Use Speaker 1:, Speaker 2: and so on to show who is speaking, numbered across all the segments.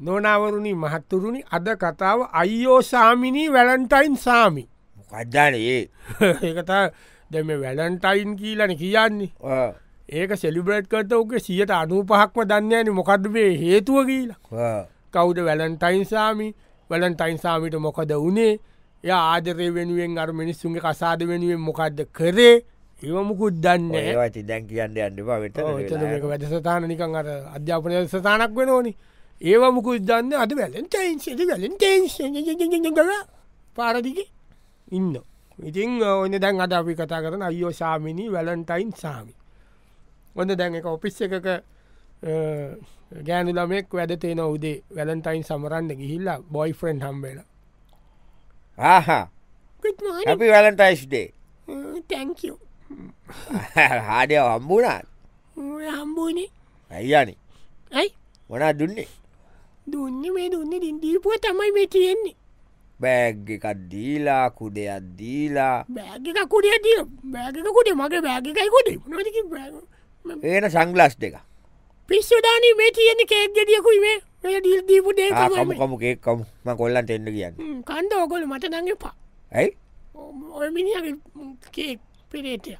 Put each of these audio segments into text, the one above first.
Speaker 1: නොනවරුණි මහත්තුරුණි අද කතාව අයිෝ සාමිනී Valentine සාමි
Speaker 2: කද්දානයේ
Speaker 1: ඒකතා දෙම Valentine කියලන කියන්නේ ඒක සෙලිබ්‍රේට් කට ඕක සියට අනූපහක්ම දන්නේන මොකක්වේ හේතුව කියලා කවුද වැලන්ටයින් සාමි වැලන්ටයින් සාමිට මොකද වනේ ය ආදරය වෙනුවෙන් අර මිනිස්සුන්ගේ කසාද වෙනුවෙන් මොකක්ද කරේ ඒවමුකුත් දන්නේ
Speaker 2: ඒවති දැන් කියන්න අන්නවා වෙත
Speaker 1: වැඩසථාන නිකන් අර අධ්‍යාපනය සථානක් වෙන ඕනි ඒව මුකු දන්න අද වැලන්ටයින් සෙලි වැලන්ටයින් පාරදික ඉන්න ඉතින් ඔන්න දැන් අද අපි කතා කරන අයෝ සාමිනී වැලන්ටයින් සාමි ඔන්න දැන් එක ඔපිස් එකක ගෑනු ළමෙක් වැඩ තේන උදේ වැලන්ටයින් සමරන්න ගිහිල්ලා බොයි ෆ්‍රෙන්් හම්බේල
Speaker 2: ආහා අපි වැලන්ටයිස්්ඩේ
Speaker 1: තැංකෝ
Speaker 2: හාඩය හම්බුණත්
Speaker 1: හම්බෝනේ
Speaker 2: ඇයියනි
Speaker 1: ඇයි
Speaker 2: මොනා දුන්නේ
Speaker 1: දුන්න මේ දුන්න දිින්දීපුුව තමයි මේ තියෙන්නේ
Speaker 2: බෑග්ගකත්දීලා කුඩයක් දීලා
Speaker 1: බෑගක කුඩිය දිය බෑගකුට මගේ බෑගකයි කොඩ නොක
Speaker 2: එන සංගලස් දෙක
Speaker 1: පිස්සුදාන මේ තියෙන කේක් ගෙඩියකුයි මේ මේ දිල් දීපුටේ
Speaker 2: කමකමගේ කම කොල්ලන් එන්න කියන්න
Speaker 1: කන්ද ඔකොල මට නඟ පා
Speaker 2: ඇයි
Speaker 1: ඔය මිනිියගේ කේක් පිරේටය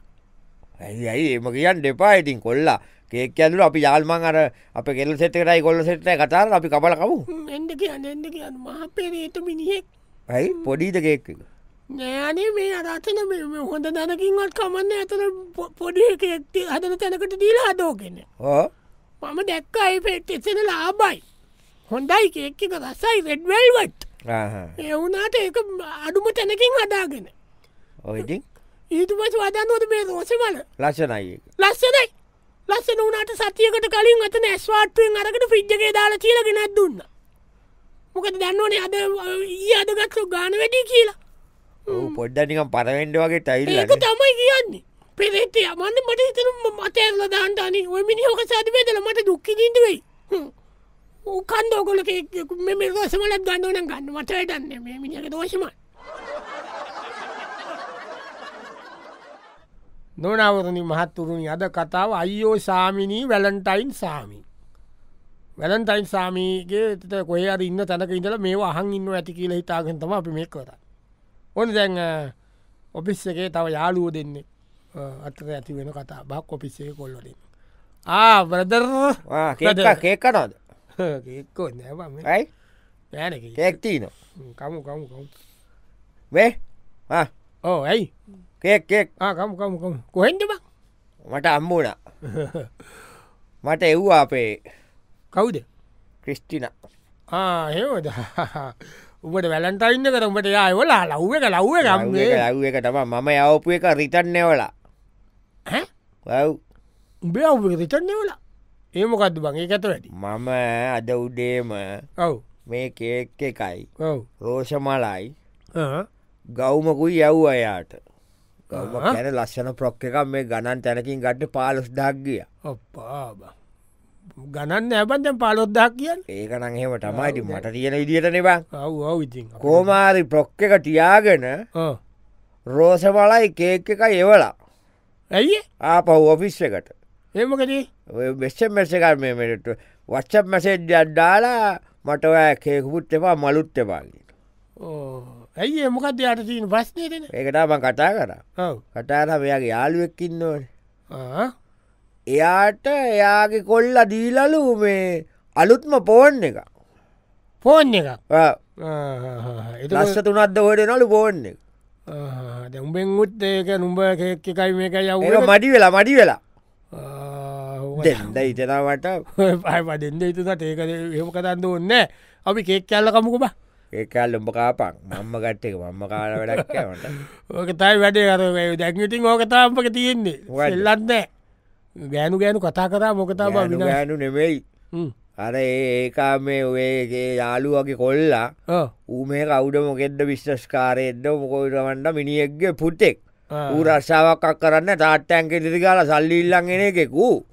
Speaker 2: ඇයි ඇයි එම කියන්න දෙපා ඉතින් කොල්ලා කේක් ඇඳු අපි යාල්මන් අර අප කෙල් සෙටකරයි කොල්ල සෙට්ට කතාර අපි කබලකමු
Speaker 1: එඩ කියන්න එඩ කියන්න මහ පෙරේට මිනිියෙක්
Speaker 2: ඇයි පොඩීද කේක්
Speaker 1: නෑනේ මේ අරාතන මේ හොඳ දැනකින්වත් කමන්න ඇතන පොඩිකෙක්ති හදන තැනකට දීලා හදෝගෙන
Speaker 2: ඕ
Speaker 1: මම දැක්ක අයි පෙට් එසෙන ලාබයි හොඳයි කේක්ක රසයි රෙඩ්වල්වට එවුනාට ඒක අඩුම තැනකින් හදාගෙන
Speaker 2: ඔයිඉතින්
Speaker 1: ඊතුමස් වදන්නෝද මේ රෝසමල
Speaker 2: ලස්සනයි
Speaker 1: ලස්සනයි ලස්සන වනාට සතියකට කලින් අත නැස්වාටුවෙන් අරකට ෆිජ්ජගේ දාලා කියල ගෙනත් දුන්න මොකද දන්නවනේ අද ඒ අදගත්ලු ගාන වැඩී කියලා
Speaker 2: පොඩ්ඩනිකම් පරවෙන්ඩ වගේ
Speaker 1: ඒක
Speaker 2: ටයිල්
Speaker 1: තමයි කියන්නේ පෙරේට යමන්න මට හිතන මතඇල දාන්ටන ඔය මිනිහෝක සාධපේදල මට දුක්කි දීටවෙයි ඕකන්ද ඕකොලක මෙම රෝසමලත් ගන්නවන ගන්න මට වැඩන්න මේ මිනිියක දෝෂම නොනවරණි මහත්තුරුණි අද කතාව අයිෝ සාමිනී වැලන්ටයින් සාමි වැලන්ටයින් සාමීගේ කොය අර ඉන්න තැනක ඉඳල මේ අහන් ඉන්න ඇති කියලා හිතාගෙන්තම අපි මේ කර ඕන දැන් අ, ඔපිස් එකේ තව යාලුව දෙන්නේ අතර ඇති වෙන කතා බක් ඔපිස්සේ කොල්ලොලින් ආ බ්‍රදර්
Speaker 2: කේක් කනද
Speaker 1: ඒක්කෝ නැවම
Speaker 2: ඇයි
Speaker 1: නෑනක
Speaker 2: කේක්තිීන
Speaker 1: කමු කමු කමු
Speaker 2: වේ
Speaker 1: ඕ ඇයි
Speaker 2: කේක් කේක්
Speaker 1: ආකමු කමුකම කොහෙන්ට බක්
Speaker 2: මට අම්මුණ මට එව්වා අපේ
Speaker 1: කවුද
Speaker 2: ක්‍රිස්ටින
Speaker 1: හෙමද උබට වැලන්ටයින්න කරමට යාවලා ලව්ව එක ලව්ව ගම්ේ
Speaker 2: ලව් එක තම මම යවපු එක රිතන්නේවලා ඔව්
Speaker 1: උබේ ඔබ රිටන්නවලා ඒමොකක්ද බං ඒ ඇත වැඩි
Speaker 2: මම අද උඩේම
Speaker 1: ඔව්
Speaker 2: මේ කේක් එකයි
Speaker 1: ඔව්
Speaker 2: රෝෂමලයි
Speaker 1: ආ.
Speaker 2: ගෞමකුයි යව් අයාට ගෞම කැන ලස්සන ප්‍රොක්් එකක් මේ ගණන් තැනකින් ගට පාලොස් දක්ගිය
Speaker 1: අප්පා බං. ගණන්න ඇබන්තැන් පාලොද්දා කියන්න
Speaker 2: ඒක නංහෙම තමයිති මට තියෙන විදිට නෙබා
Speaker 1: ඔව් ඔව් ඉතින්
Speaker 2: කෝමාරි ප්‍රොක්් එක ටියාගෙන
Speaker 1: ආ.
Speaker 2: රෝසමලයි කේක් එක එවලා
Speaker 1: ඇයි
Speaker 2: ආපහු ඔෆිස් එකට
Speaker 1: ඒමකදී
Speaker 2: වෙස්සම් මැසකර මේ මෙට වච්චප් මැසෙඩ් අඩ්ඩාලා මට ඔය කේකුපුත් එපා මලුත් එපාගට
Speaker 1: ඇයි ඒමකද යට තිීන ප්‍රශ්නයටන
Speaker 2: ඒකටම කතා කර
Speaker 1: ඔව
Speaker 2: කටාර මෙයාගේ යාළුවෙක්කින්නවන එයාට එයාගේ කොල්ල දීලලු මේ අලුත්ම පෝන් එක
Speaker 1: පෝන් එක
Speaker 2: ලස්ස තුනත්ද හොට නොලු පෝන් එක
Speaker 1: දැම්බෙන් උත් ඒක නුම්ඹ එකයි මේක
Speaker 2: ඒක
Speaker 1: යව
Speaker 2: මඩි වෙලා මඩි වෙලා දෙද ඉතනවට
Speaker 1: පයපදෙන්ද ඉතුසට ඒක හෙම කතන්න ඕන්න අපි කේක් කැල්ල කමුකුබ
Speaker 2: ඒකල් උඹ කාපක් මම්ම ගට්ටක මම්ම කාල වැඩක් වට
Speaker 1: ඕක තයි වැඩේ කර දැක්විතින් ඕකතාම්පක තියෙන්නේ
Speaker 2: වැඩ.
Speaker 1: එල්ලත්නෑ ගෑනු ගෑනු කතා කරා මොකතා බ
Speaker 2: ගෑනු නෙමෙයි අර ඒ ඒකා මේ ඔයගේ යාළුවගේ කොල්ලා ඌ මේ කවුඩ මොකෙද විශ්ෂස්කාරයෙන්ද මොකොයිටවන්න මිනිියෙක්ගේ පුටෙක් ඌ රස්සාාවක් කරන්න තාට්ටැන්ක දිරිකාල සල්ලිල්ලන්ගෙන එකෙකු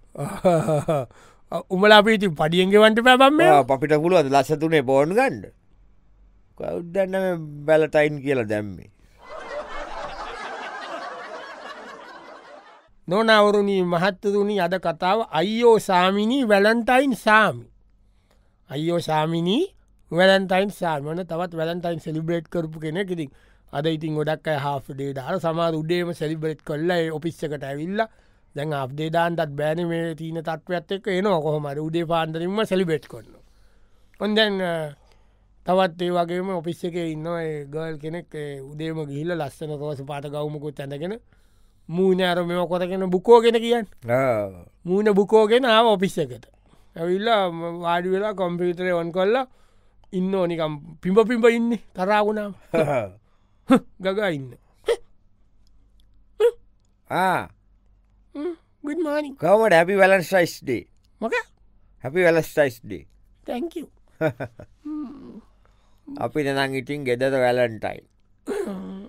Speaker 1: උමල අපිති පඩියෙන්ගේ වන්ට පැබම්ම
Speaker 2: අපිට පුළුවද ලස්සතුනේ පෝන් ගන්ඩ කවුද්දන්න බැලටයින් කියලා දැම්මේ
Speaker 1: නොනවරුණී මහත්තරුණි අද කතාව අයිෝ සාමිනී වැලන්ටයින් සාමි අයිෝ සාමිනී වැලන්ටයින් සාමන තවත් වැලන්ටයින් සෙලිබ්‍රේට් කරපු කෙන කිරින් අද ඉතින් ගොඩක් හාෆ්ඩේ දාර සමාර උඩේම සෙලිබ්‍රේට් කොල්ලා ඔපිස්සකට ඇවිල්ල දැන් අප්දේඩාන්ටත් බෑන මේ තියන තත්වත් එක් එනවා කොහොමට උඩේ පාන්දරීම සෙලිබේට් කොන්න හොන්දැන් තවත් ඒ වගේම ඔපිස්ස එක ඉන්න ගල් කෙනෙක් උදේම ගිල්ල ලස්සන කවස පාට ගවමකුත් තැඳගෙන මූන අර මෙම කොතගෙන බුකෝගෙන කියන්න මූුණ බුකෝගෙන ආව ඔපිස්ස එකට ඇවිල්ලා වාඩි වෙලා කොම්පියුතරය ඔන් කොල්ලා ඉන්න ඕනිකම් පිම්ප පිම්ප ඉන්න තරාගුණාව ගග ඉන්න
Speaker 2: ආ
Speaker 1: ගමානි
Speaker 2: කවට හැපි වැලන්සයිස්ඩේ
Speaker 1: මක
Speaker 2: හැපි වැලස්ටයිස්ඩේ
Speaker 1: තැක
Speaker 2: අපි නං ඉටින් ගෙදර වැලන්ටයින්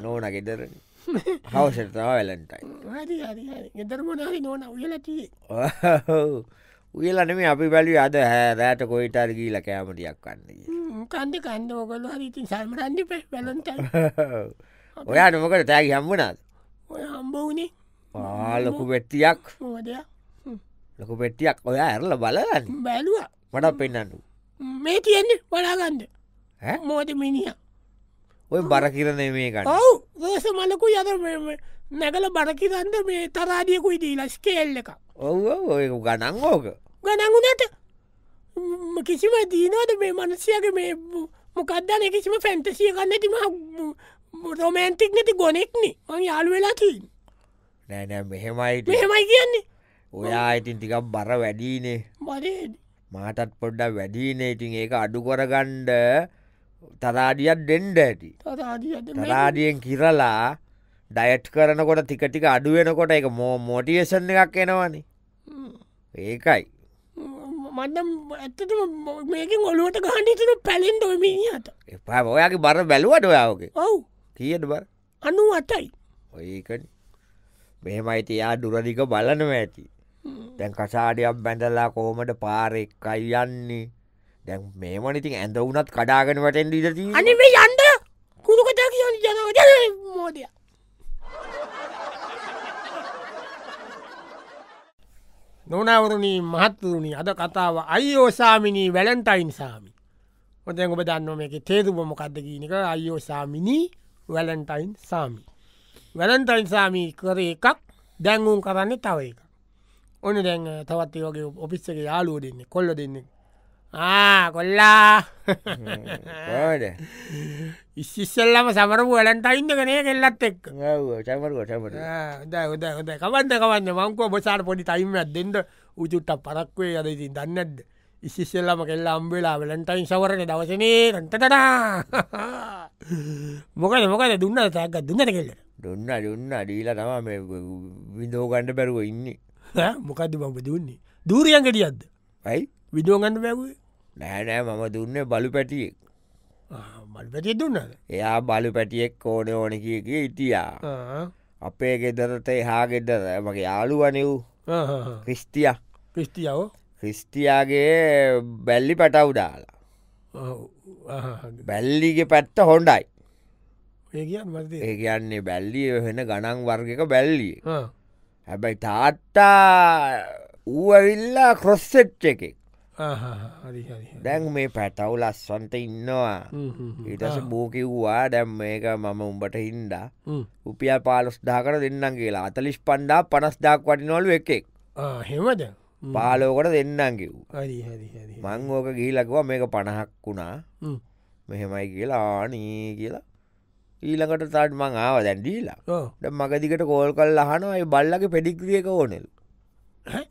Speaker 2: නෝන ගෙදරන හවසටාව වැලන්ටයින්
Speaker 1: ගෙදර මොනාරි නොන උයලටේ
Speaker 2: උයලනම අපි බැලි අද හැ රෑට කොයිටර් ගීල කෑමටියක් කන්නගේ
Speaker 1: කන්ද කන්ද ඔකොල්ල හරිතින් සල්මරන්ඩි පෙ වැලන්ට
Speaker 2: ඔයා නොමකට තෑගි හම්බනාද
Speaker 1: ඔය හම්බවනේ
Speaker 2: ලොකු පෙට්ටියක්
Speaker 1: මොදයක්
Speaker 2: ලොකු පෙට්ටියක් ඔය ඇරල බලන්න
Speaker 1: බැලවා
Speaker 2: මට පෙන්න්නඩු
Speaker 1: මේ තියෙන්නේ බලාගන්ඩ මෝද මිනිිය
Speaker 2: ඔය බර කිරණ මේකට
Speaker 1: ඔව් දෝස මලකු යද නැගල බරකිරන්න මේ තරාදියකුයි දීලා ස්කේල් එක
Speaker 2: ඔව ඔය ගණන් ඕෝක
Speaker 1: ගනගුණට කිසිම දීනෝද මේ මනසියගේ මේ මොකක්දන කිසිම ෆැන්ටසිය ගන්න තිම රොමෑන්ටික් නැති ගොනෙක්නේ මං යාලු වෙලාතිී
Speaker 2: නෑනෑ මෙහෙමයිට
Speaker 1: මෙහෙමයි කියන්නේ
Speaker 2: ඔයා ඉතින් ටිකක් බර වැඩීනේ
Speaker 1: මරේ
Speaker 2: මාටත් පොඩ්ඩක් වැඩීනේ ඉතින් ඒක අඩු කොරගණ්ඩ තරාඩියත් ඩෙන්ඩ ඇති තරාඩියෙන් කිරලා ඩයට් කරනකොට තිකටික අඩුවෙනකොට එක මෝ මෝටියේෂන් එකක් එනවනේ ඒකයි
Speaker 1: මන්නම් ඇත්තටම මේකින් ඔලුවට ගාන්ඩිතන පැලෙන් ොමිනිට
Speaker 2: එපා ඔයාගේ බර බැලුවට ඔයාගේ
Speaker 1: ඔව්
Speaker 2: කියට බර
Speaker 1: අනු අටයි
Speaker 2: ඒකන මෙහෙමයිතියා දුරදික බලනව ඇති දැන් කසාඩයක් බැඳලා කොහොමට පාරෙක් අයන්නේ දැන් මේමනිතින් ඇඳ වනත් කඩාගෙන වටෙන් ඉදති
Speaker 1: අනි මේ යන්ඩ කුරු කතා කියන්න ජනකට මෝදය නොනවරුණී මහත්තුරුණි අද කතාව අයිෝසාමිනී වැලන්ටයින් සාමි ඔොතැන් ඔබ දන්නම එක තේරුපම කදගීනක අයිෝසාමිනී වැලන්ටයින් සාමි වැලන්ටයින් සාමී කර එකක් දැංගුම් කරන්න තව එක ඕන දැන් තවත් ඒ වගේ ඔපිස්සක යාලුව දෙන්න කොල්ල දෙන්නේ ආ කොල්ලා
Speaker 2: ඕඩ
Speaker 1: ඉස්සිස්සල්ලම සමරපු වැලන්ටයින්ද කනය කෙල්ලත් එක්
Speaker 2: චමරකොට
Speaker 1: හොද හොද කවන්න කවන්න මංකෝ බොසාර පොඩි ටයිමත් දෙෙන්ට උජුට්ට පරක්වේ යදති දන්නද ඉස්සිස්සල්ලම කෙල්ලා අම්බෙලා වෙලන්ටයින් සවරණ දවසනේ රටටටා මොකද මොකද දුන්න තැක්ක දුන්නට කෙල්ලට
Speaker 2: දුන්න දුන්න අඩීලා තම විඳෝගණ්ඩ පැරුව ඉන්නේ
Speaker 1: ඈ? මොකද්ද මම දුන්නේ දූරියන්ගටියද්ද
Speaker 2: ඇයි
Speaker 1: විඩෝගන්න බැවේ
Speaker 2: නෑනෑ මම දුන්න බලු පැටියෙක්
Speaker 1: මල් පැටිය දුන්නද
Speaker 2: එයා බලු පැටියෙක් ඕන ඕන කියක ඉටියා අපේ ගෙදරට එහා ගෙදර මගේ යාළුවනිව් ක්‍රිස්ටිය
Speaker 1: පිස්ටියාව
Speaker 2: ක්‍රිස්ටියයාගේ බැල්ලි පැටව් දාලා බැල්ලිගේ පැත්ත හොන්ඩයි
Speaker 1: ඒ කියන්න මතේ
Speaker 2: ඒ කියන්නේ බැල්ලිය වෙන ගණන් වර්ගක බැල්ලිය හැබැයි තාත්තා ඌඇවිල්ලා කොස්සෙට් එකෙක්
Speaker 1: හරි හරි
Speaker 2: දැන් මේ පැටව් ලස්සන්ට ඉන්නවා ඊටස බූකිව්වා දැම් මේක මම උඹට හින්දා උපිය පාලොස් දාකර දෙන්නම් කියලා අතලිස් පණ්ඩා පනස්දාක් වටිනොලු එකෙක්
Speaker 1: හෙමද
Speaker 2: පාලෝකට දෙන්නම් කිව්
Speaker 1: හරි හරි හරි
Speaker 2: මං ඕක ගිහිලකවා මේක පණහක් වුණා
Speaker 1: හ්ම්.
Speaker 2: මෙහෙමයි කියලා ආනී කියලා ඊළඟට තාට් මං ආව දැන්ඩීලා
Speaker 1: ඔව්.
Speaker 2: ද මගදිකට කෝල් කල් අහනයි බල්ලගේ පෙඩික්්‍රියක ඕනෙලු
Speaker 1: ඈ?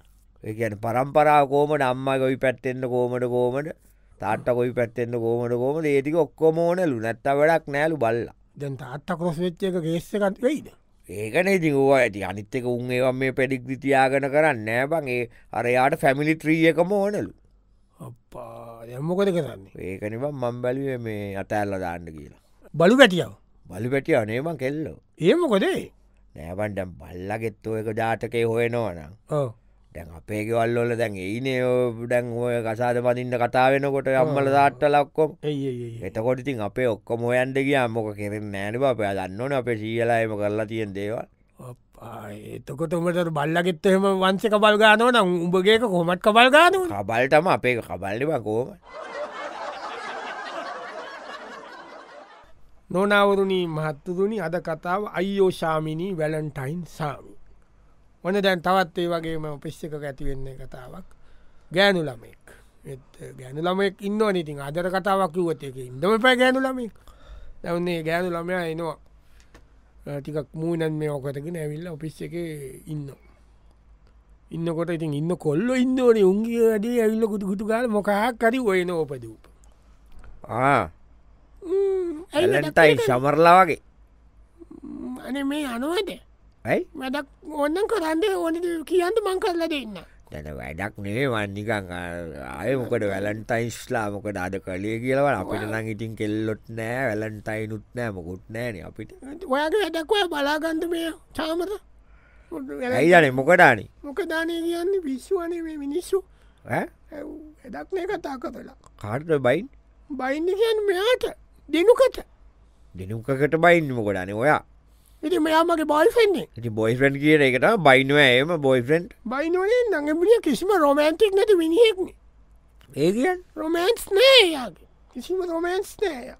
Speaker 2: ඒකන පරම්පරා කෝමට අම්ම ගොයි පැත්තෙන්න්න කෝමට කෝමට තාට කොයි පැත්තෙන්න්න කෝමට කෝමට ඒටික ඔක්කොම ඕනලු නැත්ත වැඩක් නෑලු බල්ලා
Speaker 1: දැන් තාත්ත කොස් වෙච්ච එක ගේස්සකත් වෙයිද
Speaker 2: ඒකන ඉතින් ඌවා ඇති අනිත්තක උන් ඒවා මේ පෙඩික්දි තියාගෙන කරන්න නෑබං ඒ අරයාට ෆැමිලි ත්‍රීයකම ඕනලු
Speaker 1: අපා දැම්මකොද කරන්නේ
Speaker 2: ඒකනිම මම් බැලුව මේ අතඇල්ල දාන්න කියලා
Speaker 1: බලු පැටියාව
Speaker 2: බලි පැටිය අනේම කෙල්ලෝ
Speaker 1: ඒමකොදේ
Speaker 2: නෑබන්ට බල්ලගෙත්තෝ එක ජාතකය හොයනවනම්
Speaker 1: ඕ
Speaker 2: දැන් අපේගෙවල්ලොල දැන් ඒනේ ඩැන් ඔය කසාද පදින්න කතාාවෙනකොට අම්මල දාට්ට ලක්කොම
Speaker 1: ඒ
Speaker 2: එතකොට ඉතින් අපේ ඔක්කොම ඔයන්ටගේ අම්මොක කෙරෙන් නෑන අප දන්නවන අප සීලායම කරලා තියෙන් දේවල්
Speaker 1: එතකොට උමට බල්ලගෙත්ත එහෙම වංසක බල්ගානව නම් උඹගේක කොමට් කබල්ගානව
Speaker 2: කබල්ටම අපේ කබල්ලිම කෝම
Speaker 1: නොනවරුණී මහත්තුරුණි අද කතාව අයිෝෂාමිනී වැලන්ටයින් සාමි. ඕන දැන් තවත් ඒ වගේම පිස්්ික ඇතිවෙන්නේ කතාවක් ගෑනු ළමෙක් ගෑනු ළමෙක් ඉන්න නඉතින් අදර කතාවක් වුවතයක ඉදම පැ ගෑනු ළමෙක් දැවන්නේ ගෑනු ළමයා එනවා ටිකක් මූනන් මේ ඕකතගෙන ඇවිල්ල ඔපිස් එක ඉන්න. ඉන්නකොට ඉතින් ඉන්න කොල්ල ඉන්නවනේ උන්ගේ වැඩේ ඇවිල්ල කුතු කුතු ගල මොකහක්කරි ඔයන ඕපදූප
Speaker 2: ඇලටයි සමරලා වගේ
Speaker 1: අන මේ අනුවද
Speaker 2: ඇයි
Speaker 1: වැඩක් ඕන්න කරන්න ඕන කියන්ට මං කරලා දෙන්න
Speaker 2: දැන වැඩක් නේ වන්නිකං අය මොකට වැලන්ටයිස්ලා මොකට අද කලේ කියලවන අපිට නං ඉතින් කෙල්ලොත් නෑ වැලන්ටයිනුත් නෑ මොකුත් නෑන අපිට
Speaker 1: ඔයාගේ වැඩක්ව බලාගන්ධ මේ චාමර
Speaker 2: ඇයිදන මොකටානි
Speaker 1: මොකදානය කියන්න විශ්වානය මේ මිනිස්සු එදක්නේ කතා කරලා
Speaker 2: කාර්ට බයින්
Speaker 1: බයින්න කියන් මෙයාට දෙනුකට
Speaker 2: දෙනුකට බයින්න මොකටන ඔයා
Speaker 1: ඉති මෙයාමගේ බල්ෆෙන්නේ
Speaker 2: ඉති බොයිෆන් කියන එකට බයිනවෑම බොයිෆන්්
Speaker 1: බයිනෝනේ නඟපුිය කිසිම රොමෑන්ටික් නැති විනිහෙක්න
Speaker 2: ඒකන්
Speaker 1: රොමෑන්ස් නෑයාගේ කිසිම රොමෑන්ස් නෑය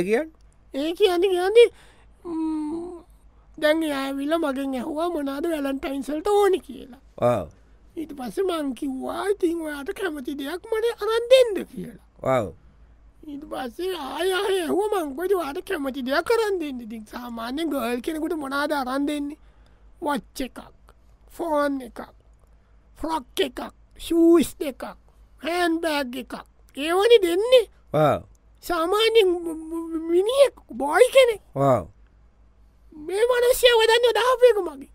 Speaker 2: ඒකන්
Speaker 1: ඒ කියන්න කියන්නේ දැන් ඇවිල මගෙන් ඇහවා මොනාද වැලන්ටයින්සල්ට ඕනි කියලා ඊට පස්ස මංකිව්වා ඉතින් ඔයාට කැමති දෙයක් මට අරන් දෙන්න කියලා ඊට පස්සේ ආයහය හෝ මංකොද වාට කැමති දෙයක් කරන් දෙන්න ඉතින් සාමාන්‍ය ගොල් කෙනෙකුට මොනාද අරන් දෙන්නේ වච්ච එකක් ෆෝන් එකක් ෆ්‍රොක් එකක් ශූස් එකක් හැන් බෑග් එකක් ඒවනි දෙන්නේ සාමාන්‍යෙන් මිනිියෙක් බොයි කෙනෙක් මේ මනස්ය වදන්න දහපයක මගේ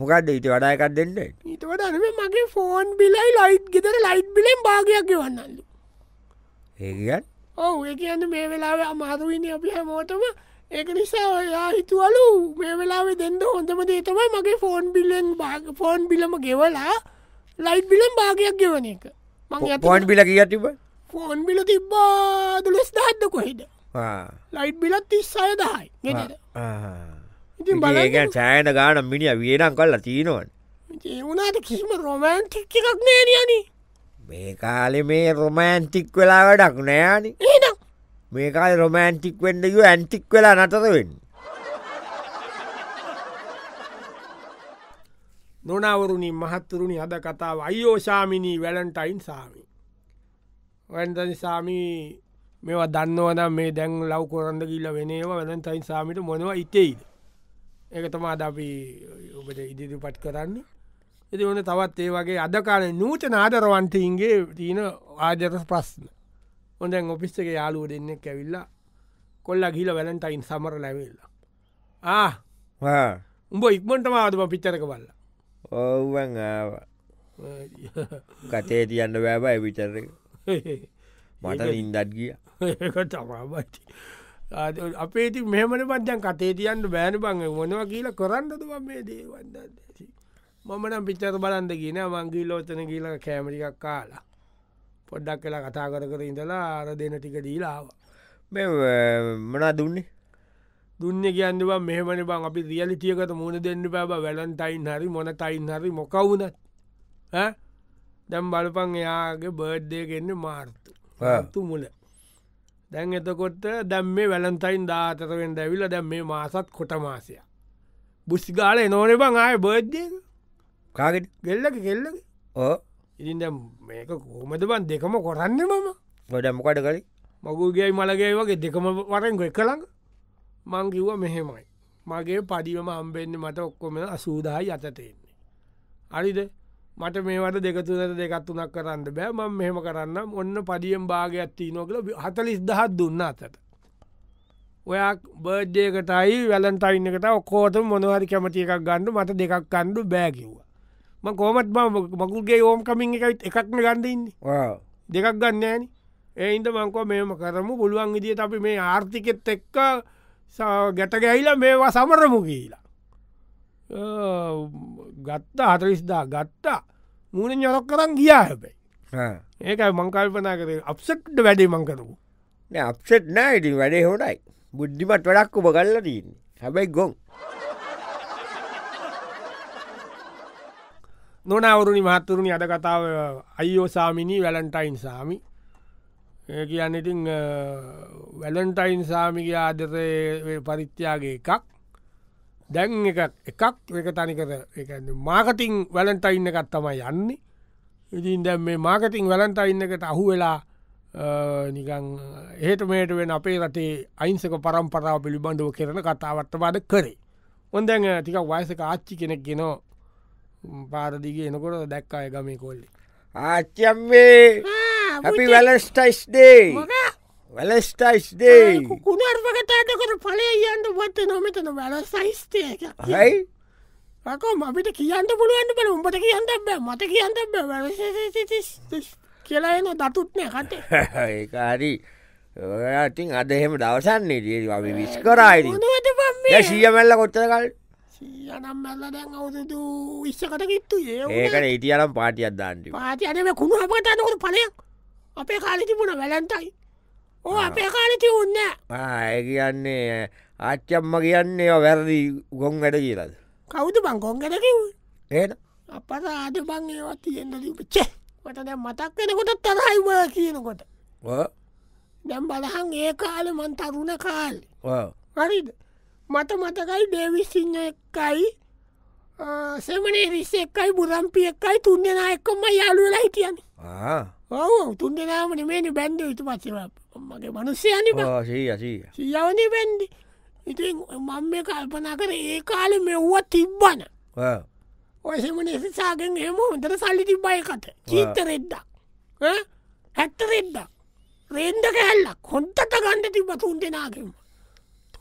Speaker 2: මොකක්ද ඊට වඩායකක් දෙන්න
Speaker 1: ඊට වදන මගේ ෆෝන් බිලයි ලයිට් ගෙතර ලයිට් බිලෙන් භාගයක් වන්නල්ලු
Speaker 2: ඒකන්
Speaker 1: ඔව ඒ කියන්න මේ වෙලාව අමාරුවනි අපි හැමෝටම ඒක නිසා ඔයා හිතුවලු මේ වෙලාවේ දෙන්න හොඳම දේතමයි මගේ ෆෝන් බිල්ලෙන් භාග ෆෝන් බිලම ගෙවලා ලයිට් බිලම් භාගයක් ගෙවන එක මං
Speaker 2: පොන්් බිල කියතිබ
Speaker 1: ෆෝන් බිල තිබ්බාදුලෙස් දාන්න කොහෙද ලයිට් බිලත් තිස් අය දහයි ගෙනට ඉතින් බල
Speaker 2: ඒ සෑන ගාන මිනිිය වියනම් කල්ලා තිීනවන්
Speaker 1: ඒවුණට කිසිම රොමෑන්ටික් එකක් නෑනියනි
Speaker 2: මේ කාලෙ මේ රොමෑන්ටික් වෙලා වැඩක් නෑනි
Speaker 1: ඒනම්
Speaker 2: මේ කාල රොමෑන්ටික් වෙන්ඩක ඇන්ටික් වෙලා නතර වෙන්න
Speaker 1: නොනවරුණින් මහත්තුරුණි අද කතාව අයෝෂාමිනී වැලන්ටයින් සාමි. වැන්දනි සාමී මෙවා දන්නවනම් මේ දැන් ලව් කොරන්ද කියල්ල වෙනවා වැලන්ටයින් සාමිට මොනවා ඉතෙයිද. ඒක තමා අද අපි ඔබට ඉදිරිපට් කරන්න. එති ඕන තවත් ඒ වගේ අදකාල නූට නාදරවන්ටීන්ගේ තියන ආජර ප්‍රශ්න. හොඳැන් ඔපිස්සක යාලුව දෙන්න කැවිල්ලා කොල්ලා ගිල වැලන්ටයින් සමර ලැවෙල්ලා. ආ උඹ ඉක්මටම ආදම පිච්චරක බල්ලා.
Speaker 2: ඔවුවන් ආව කතේ තියන්න බෑබයි විචර මට ඉන්දත් ගිය
Speaker 1: තමාබයි අපේති මෙමන පත්යන් කතේ තියන්ට බෑන බං මොනවා කියලා කරන්නද මේ දේවන්න මමනම් පිච්චර බලන්ද කියන මංගී ලෝතන කියලා කෑමටිකක් කාලා පොඩ්ඩක් කලා කතා කර කර ඉඳලා ආර දෙන ටික දීලාව
Speaker 2: මෙ මනා දුන්නේ
Speaker 1: දුන්න කියන්නවා මෙහමන බං අපි රියලිටියකට මුණ දෙන්න බැබ වැලන්ටයින් හරි මොනටයින් හරි මොකවුනත් දැම් බලපං එයාගේ බර්ඩ්ඩයගෙන්න්න මාර්තු තු මුල දැන් එතකොට දැම් මේ වැලන්ටයින් දාතරෙන් දැවිල දැම් මේ මාසත් කොට මාසය බුස්්ගාල නෝන බං ආය බර්ඩ්ඩය
Speaker 2: කාගෙට
Speaker 1: ගෙල්ලක කෙල්ලක
Speaker 2: ඕ
Speaker 1: ඉරින් දැම් මේක කෝමද බන් දෙකම කොරන්න මම
Speaker 2: ගොඩ මොකට කලි
Speaker 1: මගුගේයි මලගේ වගේ දෙකම වරෙන් ගො එකළඟ මංකිව්ව මෙහෙමයි. මගේ පඩිවම අම්බෙන්න්න මට ඔක්කොම අසූදායි අතටෙන්නේ. අරිද මට මේවට දෙකතුනට දෙකත්තුනක් කරන්න බෑ ම මෙහෙම කරන්නම් ඔන්න පඩියම් භාගයක්ත්ති නොකල හතලිස් දහත් දුන්න අතට. ඔයා බර්ජයකටයි වැලන්ටයින්නකට ඔක්කෝට මොනහරි කැමති එකක් ගණ්ඩු මට දෙකක් කණ්ඩු බෑකිව්වා. ම කෝමත් බම මකුල්ගේ ඕම් කමින් එකයිත් එකක්න ගණඩඉන්නේ. දෙකක් ගන්නෑන ඒයින්ද මංකව මෙම කරමු පුළුවන් විදිිය අපි මේ ආර්ථිකෙත් එක්ක සා ගැට ගැහිලා මේවා සමරමු කියලා අ, ගත්තා හතරිස්දා ගත්තා මූුණ යොරක් කරන් ගියා හැබැයි ඒකයි මංකල්පනා කරේ අප්සට්ට වැඩේ මංකරපු
Speaker 2: අප්සෙට් නෑ ඉතින් වැඩේ හොටයි බුද්ධිමට වැඩක් උප කල්ල දීන්න හැබැයි ගොන්
Speaker 1: නොනවරුණි මහත්තුරුණි අද කතාව අයෝසාමිනී වැලන්ටයින් සාමි ඒ කියන්න ඉතින් වැලන්ටයින් සාමික ආදරය පරිත්‍යාගේ එකක් දැන් එක එකක් එක තනිකර මාකටිං වැලන්ටයින්න එකත් තමයි යන්නේ ඉතින් දැම් මේ මාකටිං වැලන්ටයින්න එකට අහු වෙලා නිකං ඒටමේට වෙන අපේ රටේ අයින්සක පරම්පරාව පිළිබඳව කරන කතාවත්තවාද කරේ ඔොන්දැන් ටික වයසක ආච්චි කෙනෙක් ගෙනෝ පාරදිගේ එනකොට දැක්කා එක මේ කොල්ලි
Speaker 2: ආච්චම්මේ හැපි වැලස්ටයිස් ඩේ වැලස්ටයිස්දේ
Speaker 1: කුණර්වකතාටකට පලේ යන්න පත්ත නොමතන වැල සයිස්තයක
Speaker 2: හයි
Speaker 1: රකෝ මපිට කියන්න පුළුවන්ට පල උඹට කියන්න බෑ මත කියන්න බෑ වැල කියලාන දතුත්නය කටේ
Speaker 2: ඒකාරි ඔයාටින් අදහෙම දවසන්නේ දිය වි විස් කරයි සියමැල්ල කොච්චරකල්
Speaker 1: යනම් මැල්ල දැන් අවුදු විශ්ෂකට කිත්තු ඒ
Speaker 2: ඒකට ඉතියනම් පාටියත් දාන්ටි
Speaker 1: පාති අනම කුණු අපකටනකොට පලයක් අපේ කාලිතිබුණ වැලන්ටයි ඕ අපේ කාලිති උන්න
Speaker 2: ආය කියන්නේ ආච්චම්ම කියන්නේ ඒවා වැරදි ගොන් වැඩ කියලද
Speaker 1: කවුද බං කොන්ගටකිව්
Speaker 2: ඒට
Speaker 1: අපට ආද බං ඒවත් තියෙන්ද ලිපච්චේ වට දැ මතක් වෙනකොට තරයිව කියනකොට දැම් බලහන් ඒ කාල මන් තරුණ කාල් හරිද මට මතකයි ඩේවි සිංහ එක්කයි සෙමනේ රිස්ස එක්කයි බුරම්පිය එක්කයි තුන් දෙෙන එක්කොම යාලුවෙලා හිටියන්නේ ඔවු තුන් දෙනාම නිමේනි බැන්ඩ ඉතු පචව මගේ මනුස්්‍යයනි
Speaker 2: සීයසී
Speaker 1: සියවනි බැන්ඩි ඉතින් මං මේ කල්පනා කර ඒ කාලෙ මෙව්වත් තිබ්බන ඔයසමන එසාගෙන් එම හොඳට සල්ලි තිබ්බය කත චීත රෙද්දක් හැත්ත රෙද්දක් රේන්ද කැල්ලක් හොන්තට ගණඩ තිබ්බ තුන් දෙනාගෙම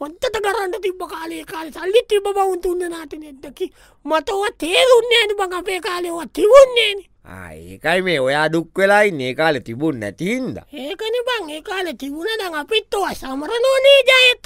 Speaker 1: හොන්තට කරන්න තිබ්බ කාලේ කාල සල්ලි තිබ බවුන් තුන්න නාට නෙද්දකි මතව තේරුන්නේ ඇනි බං අපේ කාලයවත් තිබුන්නේනි
Speaker 2: ඒකයි මේ ඔයා දුක් වෙලායි ඒ කාල තිබුන් නැතින්ද
Speaker 1: ඒකන බං ඒ කාල තිබුණ දං අපිත්තවා සමරනෝනේ ජයත